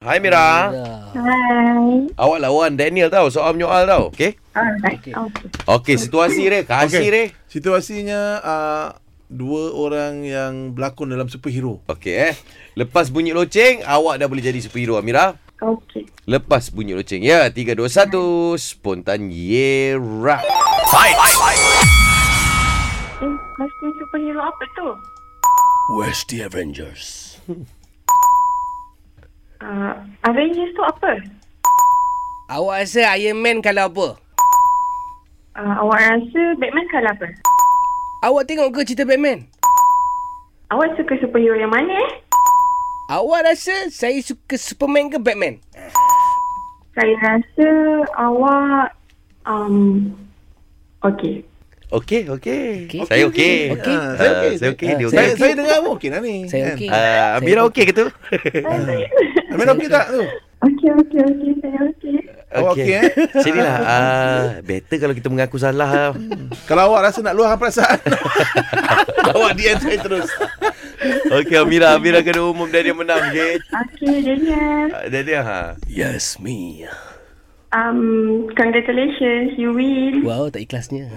Hai Mira. Hai. Awak lawan Daniel tau. Soal menyoal tau. Okey? Alright. Okey. Okay. Okey, situasi dia. Kasih Okey. dia. Situasinya uh, dua orang yang berlakon dalam superhero. Okey eh. Lepas bunyi loceng, awak dah boleh jadi superhero Amira. Okay. Lepas bunyi loceng. Ya, 3 2 1 spontan Yera. Eh, costume superhero apa tu? Where's the Avengers? Uh, Avengers tu apa? Awak rasa Iron Man kalau apa? Uh, awak rasa Batman kalah apa? Awak tengok ke cerita Batman? Awak suka superhero yang mana eh? Awak rasa saya suka Superman ke Batman? Saya rasa awak... Um, okay. Okey, okey. Okey. Saya okey. Okey. Ah, saya Ah, okey. saya okey, dia Ah, okey. Saya, saya dengar pun okey lah ni. Saya okey. Ah, Amira okey ke tu? Amin okey tak tu? okay, okay, okay. Saya okay. Awak okey, eh? Sinilah. Ah, better kalau kita mengaku salah. Kalau awak rasa nak luahkan perasaan, awak dia saya terus. Okey, Amira. Amira kena umum dia dia menang, okey? Okay, Daniel. Ah, Dia dia ha. Yes, me. Um, congratulations. You win. Wow, tak ikhlasnya.